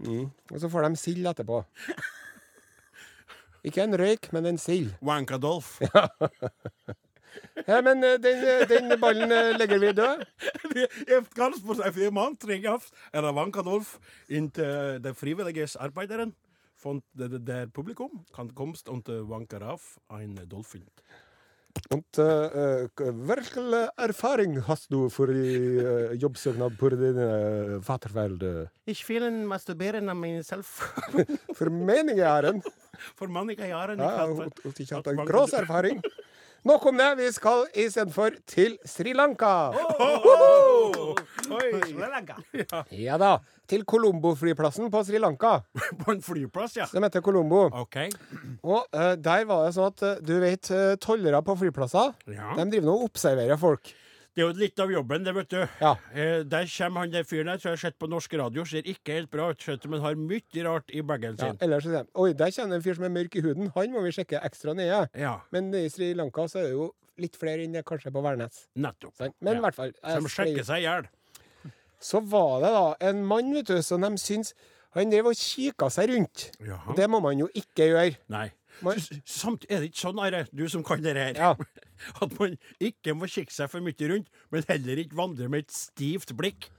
Speaker 2: Og så får de sild etterpå. Ikke en røyk, men en sild.
Speaker 1: Wankadolf.
Speaker 2: Ja, men eh, den, eh, den ballen eh, legger vi død.
Speaker 1: Efterkast på seg fire mann, tre gaffs, er det Wankadolf inntil det frivillige arbeideren. Von der, der Publikum kan komst und Wankaraf ein Dolphin.
Speaker 2: Und eh, eh, hvilken erfaring har du for eh, jobbsøknad på din uh, vatervelde?
Speaker 1: Ich will masturbieren an myself.
Speaker 2: For meningen er den.
Speaker 1: For manniga jaren.
Speaker 2: Ja, at at ikke hatt en gross erfaring. Nok om det. Vi skal istedenfor til Sri Lanka. Ja da. Til Colombo-flyplassen på Sri Lanka.
Speaker 1: På en flyplass, ja.
Speaker 2: Som heter Colombo.
Speaker 1: OK.
Speaker 2: Og eh, der var det sånn at eh, du vet eh, tollere på flyplasser,
Speaker 1: Ja.
Speaker 2: de driver nå og observerer folk.
Speaker 1: Det er jo litt av jobben, det, vet du.
Speaker 2: Ja.
Speaker 1: Eh, der kommer han der fyren der, som jeg har sett på norsk radio, ser ikke helt bra ut, skjønt, men har mye rart i bagen
Speaker 2: Ja,
Speaker 1: sin.
Speaker 2: ellers så sier de Oi, der kjenner en fyr som er mørk i huden. Han må vi sjekke ekstra nøye.
Speaker 1: Ja,
Speaker 2: Men i Sri Lanka så er det jo litt flere enn det kanskje er på Værnes.
Speaker 1: nettopp.
Speaker 2: Sant? Sånn. Men i
Speaker 1: Ja.
Speaker 2: hvert fall. jeg
Speaker 1: De sjekker
Speaker 2: sier-
Speaker 1: seg i hjel.
Speaker 2: Så var det da en mann, vet du, som de syns Han drev og kikka seg rundt.
Speaker 1: Jaha.
Speaker 2: Og det må man jo ikke gjøre.
Speaker 1: Nei.
Speaker 2: Man-
Speaker 1: S- Samt, er det ikke sånn, Are, du som kan det her,
Speaker 2: Ja.
Speaker 1: at man ikke må kikke seg for mye rundt, men heller ikke vandre med et stivt blikk?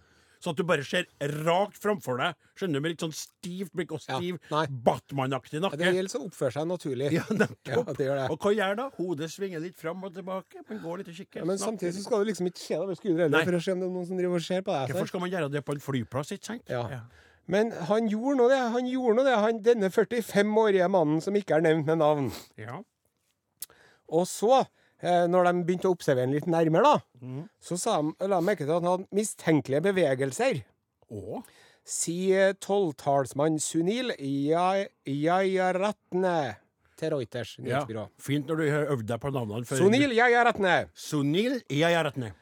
Speaker 1: Sånn at du bare ser rakt framfor deg. Skjønner du? Med litt sånn stivt blikk og
Speaker 2: Ja,
Speaker 1: stiv
Speaker 2: nei.
Speaker 1: Batman-aktig
Speaker 2: Ja,
Speaker 1: nakke.
Speaker 2: Det gjelder å oppføre seg naturlig.
Speaker 1: Ja, nettopp.
Speaker 2: Ja, det gjør det.
Speaker 1: Og hva gjør da? Hodet svinger litt fram og tilbake. Man går litt og kikker.
Speaker 2: Ja, men
Speaker 1: snakker
Speaker 2: samtidig så
Speaker 1: litt.
Speaker 2: skal du liksom ikke se deg over skulderen
Speaker 1: Nei.
Speaker 2: heller for å se om det er noen som driver og ser på deg. sant?
Speaker 1: Hvorfor skal man gjøre det på en flyplass, ikke sant?
Speaker 2: Ja. Men han gjorde nå det. Han gjorde nå det. Han, denne 45-årige mannen som ikke er nevnt med navn.
Speaker 1: Ja.
Speaker 2: Og så, eh, når de begynte å observere han litt nærmere, da, så sa de, la de merke til at han hadde mistenkelige bevegelser.
Speaker 1: Og
Speaker 2: Sier tolvtallsmann Sunil Jai- Jayaratne til Reuters
Speaker 1: ja.
Speaker 2: nyhetsbyrå.
Speaker 1: Fint når du har øvd deg på navnene. før-
Speaker 2: Sunil Jayaratne.
Speaker 1: Sunil Jayaratne.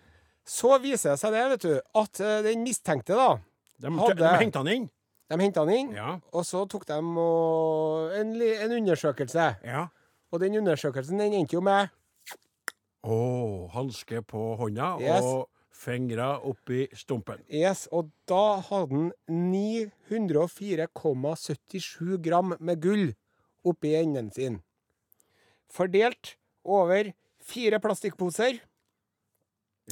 Speaker 2: Så viser det seg det, vet du, at eh, den mistenkte, da
Speaker 1: De,
Speaker 2: Hadde-
Speaker 1: de hengte han inn.
Speaker 2: De henta han inn,
Speaker 1: Ja.
Speaker 2: og så tok de og, en, li- en undersøkelse.
Speaker 1: Ja.
Speaker 2: Og den undersøkelsen den endte jo med
Speaker 1: Å, hanske på hånda
Speaker 2: Yes.
Speaker 1: og fingre oppi stumpen.
Speaker 2: Yes, og da hadde han 904,77 gram med gull oppi enden sin. Fordelt over fire plastikkposer,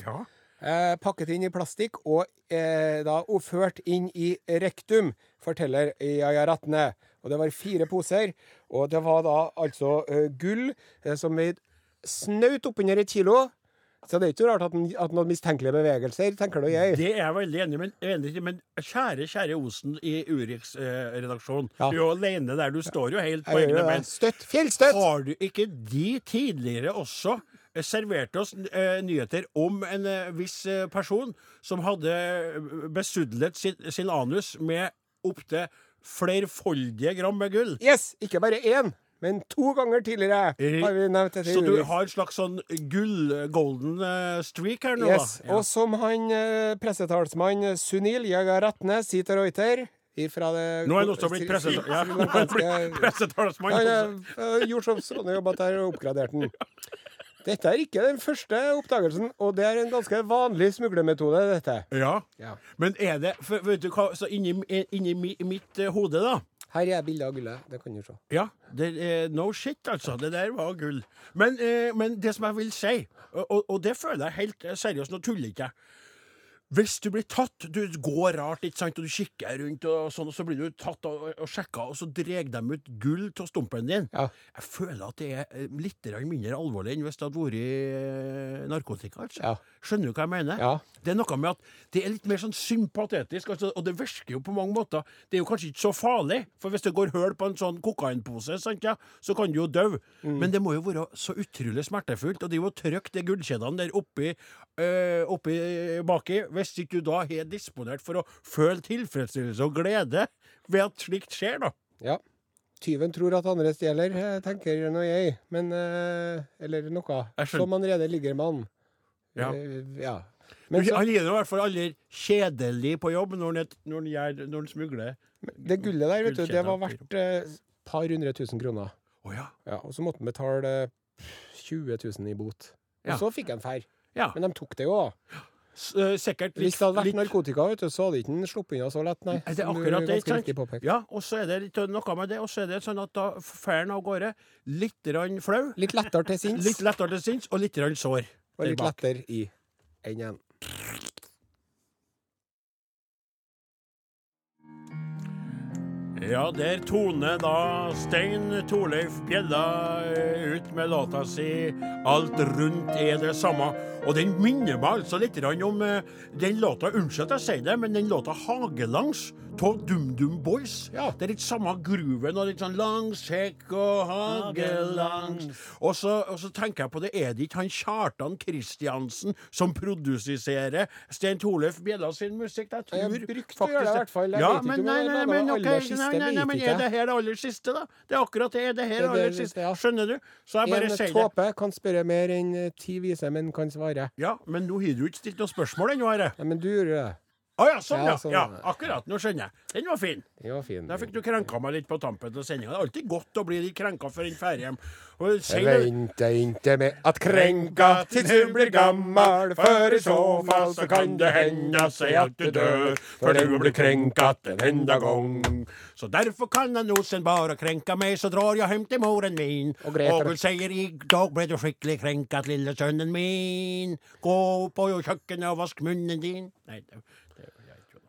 Speaker 1: Ja.
Speaker 2: eh, pakket inn i plastikk og eh, da og ført inn i rektum, forteller Yaya Ratne. Og det var fire poser, og det var da altså eh, gull eh, som veide snaut oppunder et kilo. Så det er ikke rart at han at han hadde mistenkelige bevegelser, tenker nå jeg.
Speaker 1: Det er jeg veldig enig med. enig i, Men kjære, kjære Osen i Urix-redaksjonen.
Speaker 2: Ja.
Speaker 1: Du er jo alene der. Du står jo helt på
Speaker 2: Jeg gjør
Speaker 1: egne
Speaker 2: jo det.
Speaker 1: ben.
Speaker 2: Støtt! Fjellstøtt!
Speaker 1: Har du ikke de tidligere også eh, servert oss eh, nyheter om en eh, viss eh, person som hadde eh, besudlet sin, sin anus med opptil flerfoldige gram med gull?
Speaker 2: Yes! Ikke bare én, men to ganger tidligere har vi nevnt dette. i
Speaker 1: Eh, Så du
Speaker 2: Urix.
Speaker 1: har en slags sånn gull-golden eh, streak her nå,
Speaker 2: Yes.
Speaker 1: da? Ja.
Speaker 2: Og som han eh, pressetalsmann Sunil Jagaratne sier til Reuter ifra det
Speaker 1: Nå er han også blitt presset- ja, han er blitt pressetalsmann.
Speaker 2: Han har gjort som sånne jobber at jeg har oppgradert den. Dette er ikke den første oppdagelsen, og det er en ganske vanlig smuglermetode, dette.
Speaker 1: Ja.
Speaker 2: Ja.
Speaker 1: Men er det for, Vet du hva, så inni, inni mi, mitt eh, hode, da
Speaker 2: Her er bildet av gullet. Det kan du se.
Speaker 1: Ja, det, eh, no shit, altså. Det der var gull. Men, eh, men det som jeg vil si, og, og- og det føler jeg helt eh, seriøst, nå tuller ikke jeg Hvis du blir tatt Du går rart, ikke sant, og du kikker rundt, og sånn, og så blir du tatt og, og sjekka, og så drar de ut gull av stumpen din.
Speaker 2: Ja.
Speaker 1: Jeg føler at det er eh, litt grann mindre alvorlig enn hvis det hadde vært eh, narkotika. Altså.
Speaker 2: Ja.
Speaker 1: Skjønner du hva jeg mener?
Speaker 2: Ja.
Speaker 1: Det er noe med at det er litt mer sånn sympatetisk, altså, og det virker jo på mange måter. Det er jo kanskje ikke så farlig, for hvis det går høl på en sånn kokainpose, sant, ja, så kan du jo dø.
Speaker 2: Mm.
Speaker 1: Men det må jo være så utrolig smertefullt, og det er jo å trykke de gullkjedene der oppi, øh, oppi baki, hvis ikke du da er disponert for å føle tilfredsstillelse og glede ved at slikt skjer, da.
Speaker 2: Ja. Tyven tror at andre stjeler, eh, tenker nå jeg. Men eh, Eller noe.
Speaker 1: Jeg skjønner.
Speaker 2: Som allerede ligger med han.
Speaker 1: Ja.
Speaker 2: Eh, ja. Men
Speaker 1: Men
Speaker 2: så,
Speaker 1: han er i hvert fall aldri kjedelig på jobb når han, når han, gjør, når han smugler.
Speaker 2: det gullet der, vet du, det var
Speaker 1: Gullkjeden.
Speaker 2: verdt et par hundre tusen kroner.
Speaker 1: Å ja.
Speaker 2: Ja, og så måtte han betale eh, 20 000 i bot. Og
Speaker 1: Ja.
Speaker 2: så fikk han fær.
Speaker 1: ja.
Speaker 2: Men de tok det jo, da.
Speaker 1: S- øh, sikkert
Speaker 2: Hvis det hadde vært narkotika, vet du, så hadde ikke han sluppet unna så lett, nei.
Speaker 1: Er det
Speaker 2: Som du
Speaker 1: akkurat det,
Speaker 2: ganske
Speaker 1: ikke
Speaker 2: riktig
Speaker 1: sant?
Speaker 2: påpekte.
Speaker 1: Ja, og så er det litt, noe med det, og så er det sånn at da fer han av gårde litt grann flau,
Speaker 2: Litt lettere til sinns,
Speaker 1: litt lettere til sinns og litt grann sår.
Speaker 2: og
Speaker 1: der
Speaker 2: litt
Speaker 1: bak.
Speaker 2: lettere i enden.
Speaker 1: Ja, der toner da Stein Torleif Bjella eh, ut med låta si 'Alt rundt er det samme'. Og den minner meg altså litt grann om eh, den låta Unnskyld at jeg sier det, men den låta 'Hagelangs' av DumDum Boys.
Speaker 2: Ja.
Speaker 1: Det er litt samme grooven og litt sånn langsekk og hagelangs. Og så, og så tenker jeg på det, er det ikke han Kjartan Kristiansen som produserer Stein Torleif Bjella sin musikk? Jeg
Speaker 2: Jeg
Speaker 1: tror
Speaker 2: brukte å gjøre det i hvert fall. Jeg
Speaker 1: Ja,
Speaker 2: vet ikke
Speaker 1: men
Speaker 2: om
Speaker 1: nei,
Speaker 2: jeg
Speaker 1: nei,
Speaker 2: laget
Speaker 1: men,
Speaker 2: det
Speaker 1: ok,
Speaker 2: aller siste,
Speaker 1: nei, nei, nei,
Speaker 2: vet
Speaker 1: men
Speaker 2: ikke
Speaker 1: er
Speaker 2: jeg.
Speaker 1: det her det aller siste, da? Det er akkurat det. Er det her
Speaker 2: Det
Speaker 1: det
Speaker 2: er
Speaker 1: aller
Speaker 2: det-
Speaker 1: siste?
Speaker 2: ja.
Speaker 1: Skjønner du? Så jeg bare
Speaker 2: En
Speaker 1: sier det.
Speaker 2: tåpe kan spørre mer enn eh, ti vise menn kan svare.
Speaker 1: Ja, men nå har du ikke stilt noe spørsmål ennå, Are.
Speaker 2: Nei, men du gjorde det.
Speaker 1: Å ja, sånn,
Speaker 2: Ja,
Speaker 1: ja.
Speaker 2: sånn,
Speaker 1: ja.
Speaker 2: ja.
Speaker 1: Akkurat. Nå skjønner jeg. Den var fin.
Speaker 2: Den var fin.
Speaker 1: Der fikk du krenka meg litt på tampen av sendinga. Det er alltid godt å bli litt krenka før en drar hjem. Og si
Speaker 2: Jeg
Speaker 1: det-
Speaker 2: venter ikke med at krenka til du blir gammel, for i så fall så kan det hende at jeg at du dør, for du blir krenka en enda gang.
Speaker 1: Så derfor kan han nosen bare krenka meg, så drar jeg hjem til moren min.
Speaker 2: Og Grete.
Speaker 1: hun sier i dag ble du skikkelig krenket, lille sønnen min. Gå på jo kjøkkenet og vask munnen din. Nei, det, det gjør jeg ikke.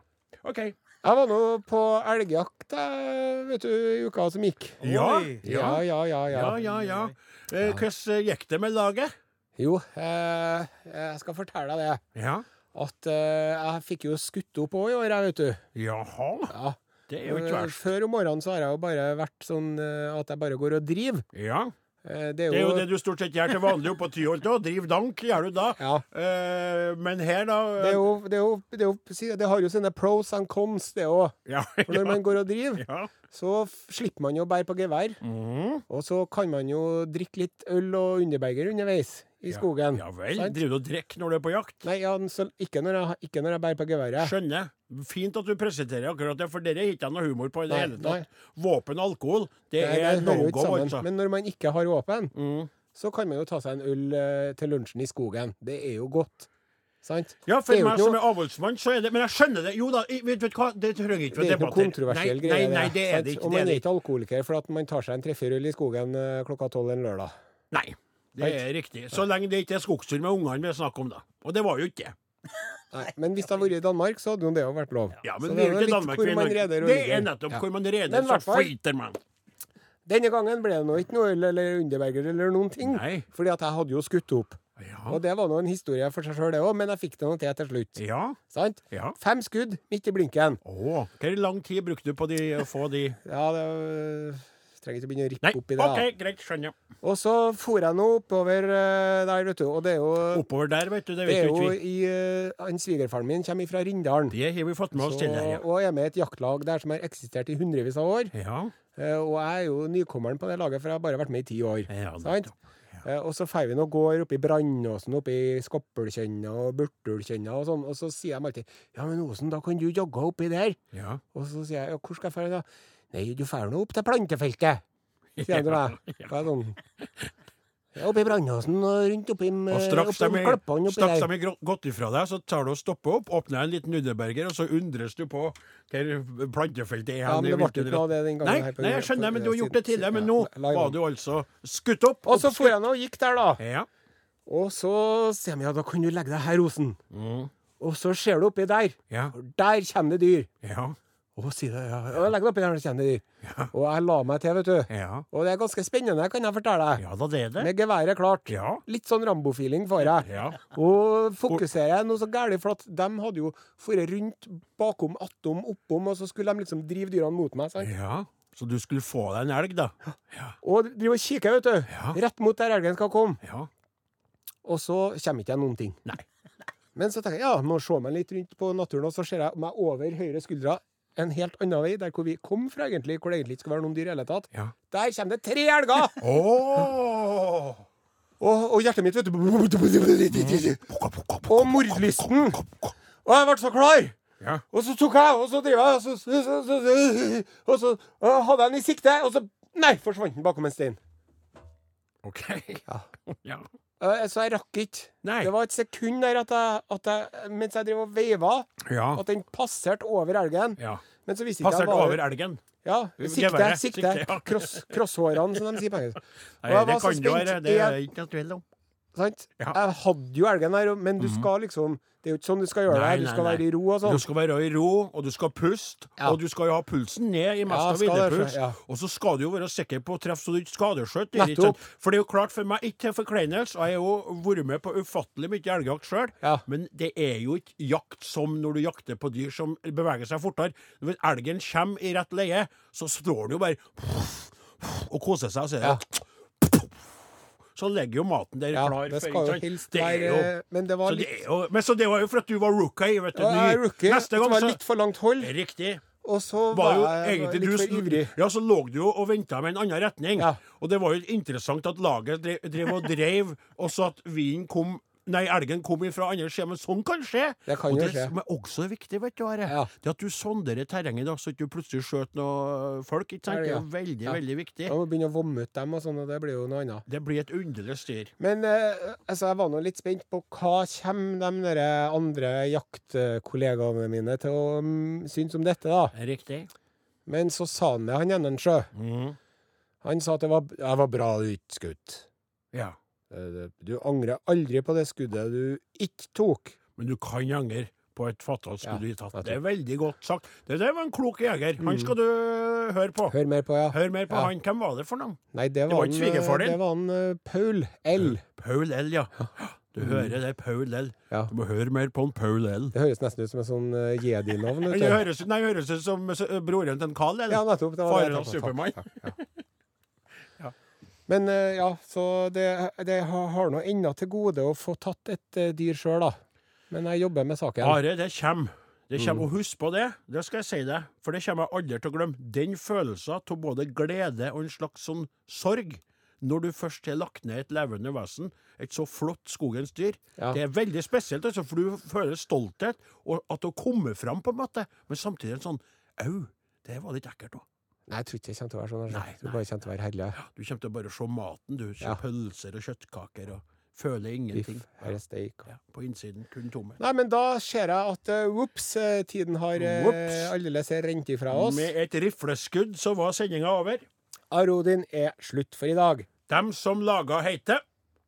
Speaker 1: da. OK.
Speaker 2: Jeg var nå på elgjakt, jeg, vet du, i uka som gikk.
Speaker 1: Ja,
Speaker 2: Ja, ja, ja,
Speaker 1: ja,
Speaker 2: ja.
Speaker 1: ja. ja. Eh, Hvordan gikk det med laget?
Speaker 2: Jo, eh, jeg skal fortelle deg det.
Speaker 1: Ja.
Speaker 2: At eh, jeg fikk jo skutt opp òg i år, jeg, vet du.
Speaker 1: Jaha.
Speaker 2: Ja.
Speaker 1: Det er jo ikke
Speaker 2: Eh,
Speaker 1: verst.
Speaker 2: Før om morgenen så har jeg jo bare vært sånn eh, at jeg bare går og driver.
Speaker 1: Ja.
Speaker 2: Eh, Det
Speaker 1: Det er jo det du stort sett gjør til vanlig oppe på Tyholt òg. Driv dank, gjør du da.
Speaker 2: Ja.
Speaker 1: Eh, men her, da
Speaker 2: Det, er jo, det, er jo, det, er jo, si- det har jo sine pros and cons, det òg.
Speaker 1: Ja.
Speaker 2: For når man går og driver,
Speaker 1: ja.
Speaker 2: så f- slipper man jo å bære på gevær.
Speaker 1: Mm.
Speaker 2: Og så kan man jo drikke litt øl og underberger underveis i skogen.
Speaker 1: Ja vel.
Speaker 2: Sant?
Speaker 1: Driver du og drikker når du er på jakt?
Speaker 2: Nei, ja, men så, ikke, når jeg, ikke når jeg bærer på geværet.
Speaker 1: Skjønner. Fint at du presenterer akkurat det, for dere har ikke jeg noe humor på i det
Speaker 2: Nei,
Speaker 1: hele tatt. Våpen og alkohol, det,
Speaker 2: Nei,
Speaker 1: er
Speaker 2: det
Speaker 1: no
Speaker 2: hører jo ikke
Speaker 1: go,
Speaker 2: sammen.
Speaker 1: altså. Mm.
Speaker 2: Men når man ikke har våpen, så kan man jo ta seg en øl eh, til lunsjen i skogen. Det er jo godt. Sant?
Speaker 1: Ja, for
Speaker 2: det er jo
Speaker 1: meg
Speaker 2: ikke
Speaker 1: som
Speaker 2: noe-
Speaker 1: er avholdsmann, så er det Men jeg skjønner det. Jo da, i- vet du hva, det trenger ikke å
Speaker 2: det er ikke noe
Speaker 1: debattere.
Speaker 2: kontroversiell
Speaker 1: nei,
Speaker 2: greie.
Speaker 1: Nei, nei, det er
Speaker 2: sant?
Speaker 1: det ikke.
Speaker 2: Og
Speaker 1: Det
Speaker 2: man
Speaker 1: er
Speaker 2: er
Speaker 1: det ikke.
Speaker 2: ikke alkoholiker for at man tar seg en tre-fire øl i skogen eh, klokka tolv en lørdag.
Speaker 1: Nei. Det er riktig. Så lenge det ikke er skogstur med ungene vi snakker om, da. Og det var jo ikke det.
Speaker 2: Nei, men hvis det hadde vært i Danmark, så hadde jo det jo vært lov.
Speaker 1: Ja, men
Speaker 2: Så
Speaker 1: det er jo
Speaker 2: litt
Speaker 1: ikke Danmark
Speaker 2: hvor
Speaker 1: vi er i
Speaker 2: man
Speaker 1: Norge.
Speaker 2: reder og
Speaker 1: Det
Speaker 2: ligger.
Speaker 1: er nettopp
Speaker 2: Ja.
Speaker 1: hvor man
Speaker 2: Men
Speaker 1: reder,
Speaker 2: i
Speaker 1: så
Speaker 2: hvert fall-
Speaker 1: flyter man.
Speaker 2: Denne gangen ble det nå ikke noe øl eller underberger eller noen ting.
Speaker 1: Nei.
Speaker 2: Fordi at jeg hadde jo skutt opp.
Speaker 1: Ja.
Speaker 2: Og det var nå en historie for seg sjøl, det òg, men jeg fikk det nå til til slutt.
Speaker 1: ja.
Speaker 2: Sant?
Speaker 1: Ja.
Speaker 2: Fem skudd midt i blinken.
Speaker 1: Å. Hvor lang tid brukte du på de, å få de
Speaker 2: Ja, det øh, Trenger ikke å begynne å rippe
Speaker 1: Nei,
Speaker 2: opp i det. da.
Speaker 1: OK, greit, skjønner.
Speaker 2: Og så for jeg nå oppover øh, der, vet du. Og det er jo,
Speaker 1: Oppover der, vet du. Det
Speaker 2: det
Speaker 1: vet
Speaker 2: er
Speaker 1: jo
Speaker 2: jo
Speaker 1: ikke vi.
Speaker 2: i øh, Han svigerfaren min kommer fra Rindalen.
Speaker 1: Det har vi fått med oss
Speaker 2: Så-
Speaker 1: til her, ja.
Speaker 2: Og er med i et jaktlag der som har eksistert i hundrevis av år.
Speaker 1: Ja,
Speaker 2: Eh, Og jeg er jo nykommeren på det laget, for jeg har bare vært med i ti år.
Speaker 1: Ja,
Speaker 2: sant?
Speaker 1: nettopp. Ja.
Speaker 2: Eh, og så drar vi nå og går oppi Brandåsen, oppi Skoppelkjenna og Burtulkjenna og sånn, og så sier de alltid 'Ja, men Osen, da kan du jogge oppi der'.
Speaker 1: Ja.
Speaker 2: Og så sier jeg 'Ja, hvor skal jeg dra', da? 'Nei, du drar nå opp til plantefeltet', sier han til meg.
Speaker 1: Ja.
Speaker 2: Da er jeg sånn ja, Oppi Brandåsen og rundt oppi
Speaker 1: Og straks de,
Speaker 2: oppi klippene Eh, oppi
Speaker 1: straks de
Speaker 2: der.
Speaker 1: er grå- gått ifra deg, så tar du og stopper opp, åpner en liten Nudeberger, og så undres du på hvor plantefeltet er.
Speaker 2: Ja,
Speaker 1: hen,
Speaker 2: men
Speaker 1: i
Speaker 2: det ble ikke
Speaker 1: hvilken
Speaker 2: noe
Speaker 1: ret-
Speaker 2: av det den gangen.
Speaker 1: Nei,
Speaker 2: her på
Speaker 1: nei, jeg
Speaker 2: grunn av-
Speaker 1: skjønner, men du har gjort det
Speaker 2: siden-
Speaker 1: tidligere. Men nå
Speaker 2: ja, live
Speaker 1: var
Speaker 2: on.
Speaker 1: du altså skutt opp.
Speaker 2: Og så for jeg nå og gikk der, da.
Speaker 1: Ja.
Speaker 2: Og så sier de ja, da kan du legge deg her, Osen. Og så ser du oppi der.
Speaker 1: Mm, Ja.
Speaker 2: For Der kommer det dyr.
Speaker 1: Ja.
Speaker 2: Og sier det, ja, ja, legg deg oppi der, så kommer det dyr. Og jeg la meg til, vet du.
Speaker 1: Ja.
Speaker 2: Og det er ganske spennende, kan jeg fortelle deg.
Speaker 1: Ja da, det er det.
Speaker 2: Med geværet klart.
Speaker 1: Ja.
Speaker 2: Litt sånn Rambo-feeling får jeg.
Speaker 1: Ja.
Speaker 2: Og fokuserer jeg noe så gærent, for at de hadde jo dratt rundt, bakom, attom, oppom, og så skulle de liksom drive dyrene mot meg. Sant?
Speaker 1: ja. Så du skulle få deg en elg, da? Ja.
Speaker 2: Og driver og kikker, vet du.
Speaker 1: Ja.
Speaker 2: Rett mot der elgen skal komme.
Speaker 1: Ja.
Speaker 2: Og så kommer ikke jeg noen ting.
Speaker 1: Nei.
Speaker 2: Men så tenker jeg ja, må se meg litt rundt på naturen, og så ser jeg meg over høyre skuldra en helt annen vei, der hvor vi kom fra, egentlig, hvor det egentlig ikke skal være noen dyr i hele tatt.
Speaker 1: Ja.
Speaker 2: Der kommer det tre elger!
Speaker 1: Ååå!
Speaker 2: og, og hjertet mitt, vet du Og mordlysten. Og jeg ble så klar!
Speaker 1: Ja.
Speaker 2: Og så tok jeg, og så drev jeg, og så, så, så, så, og så og hadde jeg den i sikte, og så Nei, forsvant den bakom en stein.
Speaker 1: OK.
Speaker 2: Ja.
Speaker 1: Ja.
Speaker 2: Eh, Så jeg rakk ikke.
Speaker 1: Nei.
Speaker 2: Det var et sekund der at jeg, at jeg, mens jeg drev og veiva,
Speaker 1: Ja.
Speaker 2: at den passerte over elgen.
Speaker 1: ja.
Speaker 2: Men så visste ikke jeg
Speaker 1: Passerte
Speaker 2: hva-
Speaker 1: over elgen.
Speaker 2: Ja, sikte,
Speaker 1: Geværet,
Speaker 2: sikte.
Speaker 1: sikte, ja.
Speaker 2: Cross, crosshårene, som de sier på engelsk. Og
Speaker 1: Nei,
Speaker 2: jeg
Speaker 1: det
Speaker 2: var
Speaker 1: kan
Speaker 2: så
Speaker 1: du være.
Speaker 2: spent.
Speaker 1: Det er
Speaker 2: Jeg-
Speaker 1: ikke noe tvil om.
Speaker 2: Sant?
Speaker 1: Ja. Mhm.
Speaker 2: Jeg hadde jo elgen her, men du skal liksom Det er jo ikke sånn du skal gjøre det.
Speaker 1: Nei,
Speaker 2: her. Du
Speaker 1: nei,
Speaker 2: skal
Speaker 1: nei.
Speaker 2: være i ro og sånn.
Speaker 1: Du skal være i ro, og du skal puste,
Speaker 2: Ja.
Speaker 1: og du skal jo ha pulsen ned i mest
Speaker 2: Ja,
Speaker 1: av
Speaker 2: skal det,
Speaker 1: innepust.
Speaker 2: ja.
Speaker 1: Og så skal du jo være sikker på å treffe så du ikke skadeskjøter. dyret,
Speaker 2: Nettopp.
Speaker 1: ikke sant? For det er jo klart for meg, ikke til forkleinelse, og jeg har jo vært med på ufattelig mye elgjakt sjøl,
Speaker 2: Ja.
Speaker 1: men det er jo ikke jakt som når du jakter på dyr som beveger seg fortere. Når elgen kommer i rett leie, så står den jo bare og koser seg, og så er det Så legger jo maten der
Speaker 2: Ja,
Speaker 1: klar. for-
Speaker 2: det skal
Speaker 1: ikke
Speaker 2: jo
Speaker 1: sant?
Speaker 2: helst
Speaker 1: Det er
Speaker 2: være
Speaker 1: jo-
Speaker 2: Men det var
Speaker 1: så det
Speaker 2: litt
Speaker 1: er jo, men så det var jo for at du var rookie. Vet du,
Speaker 2: Ja, jeg er
Speaker 1: ny.
Speaker 2: rookie.
Speaker 1: Neste
Speaker 2: det
Speaker 1: gang
Speaker 2: var
Speaker 1: så
Speaker 2: litt for langt hold,
Speaker 1: Riktig.
Speaker 2: og
Speaker 1: Var
Speaker 2: så var,
Speaker 1: jo
Speaker 2: jeg var
Speaker 1: egentlig
Speaker 2: litt
Speaker 1: du
Speaker 2: for ivrig.
Speaker 1: Ja, så lå du jo og venta med en annen retning.
Speaker 2: Ja.
Speaker 1: Og det var jo interessant at laget drev, drev og dreiv, og så at vinen kom Nei, elgen kom ifra andre sida, men sånn kan skje.
Speaker 2: Det kan
Speaker 1: og
Speaker 2: jo
Speaker 1: det
Speaker 2: skje.
Speaker 1: som er også viktig, vet du, Are,
Speaker 2: Ja.
Speaker 1: det er at du sonderer terrenget, da, så ikke du plutselig skjøter noe folk. Ikke sant? Det er jo veldig,
Speaker 2: Ja.
Speaker 1: veldig viktig.
Speaker 2: Jeg må begynne å vomme ut dem, og sånn, og det blir jo noe annet.
Speaker 1: Det blir et underlig styr.
Speaker 2: Men eh, altså, jeg var nå litt spent på hva kommer de der andre jaktkollegaene mine til å mm, synes om dette, da.
Speaker 1: Riktig.
Speaker 2: Men så sa han det, han Enensjø.
Speaker 1: Mhm.
Speaker 2: Han sa at det var, det var bra du ikke skutt.
Speaker 1: Ja.
Speaker 2: Eh, det- Du angrer aldri på det skuddet du ikke tok.
Speaker 1: Men du kan angre på et fatalt
Speaker 2: Ja,
Speaker 1: skudd du ikke
Speaker 2: nettopp.
Speaker 1: tatt. Det er veldig godt sagt. Det der var en klok jeger. Han skal du høre på.
Speaker 2: Mm. Hør mer på, ja.
Speaker 1: Hør mer på
Speaker 2: Ja.
Speaker 1: han. Hvem var det for noe?
Speaker 2: Nei, det
Speaker 1: Det
Speaker 2: var,
Speaker 1: var ikke
Speaker 2: han, eh,
Speaker 1: svigerfaren din.
Speaker 2: Det var han eh, Paul L.
Speaker 1: Paul L, ja. Du hører det, Paul L.
Speaker 2: Ja.
Speaker 1: Du må høre mer på han Paul L.
Speaker 2: Det høres nesten ut som en sånn eh, jedi-navn.
Speaker 1: Han
Speaker 2: vet du.
Speaker 1: høres, ut- nei, han høres ut som s- broren til en Carl, eller?
Speaker 2: Ja, nettopp. Det var
Speaker 1: Faren
Speaker 2: det jeg
Speaker 1: av
Speaker 2: tenkte på.
Speaker 1: Supermann.
Speaker 2: Men eh, ja, så det, det har, har nå ennå til gode å få tatt et eh, dyr sjøl, da. Men jeg jobber med saken.
Speaker 1: Are, det kommer. Det
Speaker 2: Mm.
Speaker 1: kommer, Og husk på det, det skal jeg si deg, for det kommer jeg aldri til å glemme. Den følelsen av både glede og en slags sånn sorg når du først har lagt ned et levende vesen, et så flott skogens dyr.
Speaker 2: Ja.
Speaker 1: Det er veldig spesielt, altså, for du føler stolthet, og at du kommer fram, på en måte, men samtidig en sånn au, det var litt ekkelt òg.
Speaker 2: Nei, jeg tror ikke det kommer til å være sånn. altså.
Speaker 1: Nei,
Speaker 2: Jeg tror bare det kommer til å være herlig.
Speaker 1: Du kommer til å bare se maten, du. Se
Speaker 2: Ja.
Speaker 1: pølser og kjøttkaker, og føler
Speaker 2: Biff,
Speaker 1: ingenting.
Speaker 2: her er steik.
Speaker 1: Ja, på innsiden kun tomme.
Speaker 2: Nei, men da ser jeg at eh, whoops, eh, tiden har eh,
Speaker 1: Whoops.
Speaker 2: aldeles rent ifra oss.
Speaker 1: Med et rifleskudd så var sendinga over.
Speaker 2: Arodin er slutt for i dag.
Speaker 1: Dem som laga heite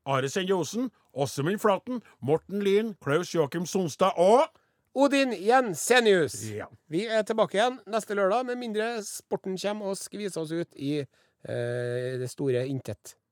Speaker 1: Are Sendiosen, Åsemund Flaten, Morten Lyn, Klaus Joakim Sonstad og
Speaker 2: Odin Jensenius.
Speaker 1: Ja.
Speaker 2: Vi er tilbake igjen neste lørdag, med mindre sporten kommer og skviser oss ut i eh, det store intet.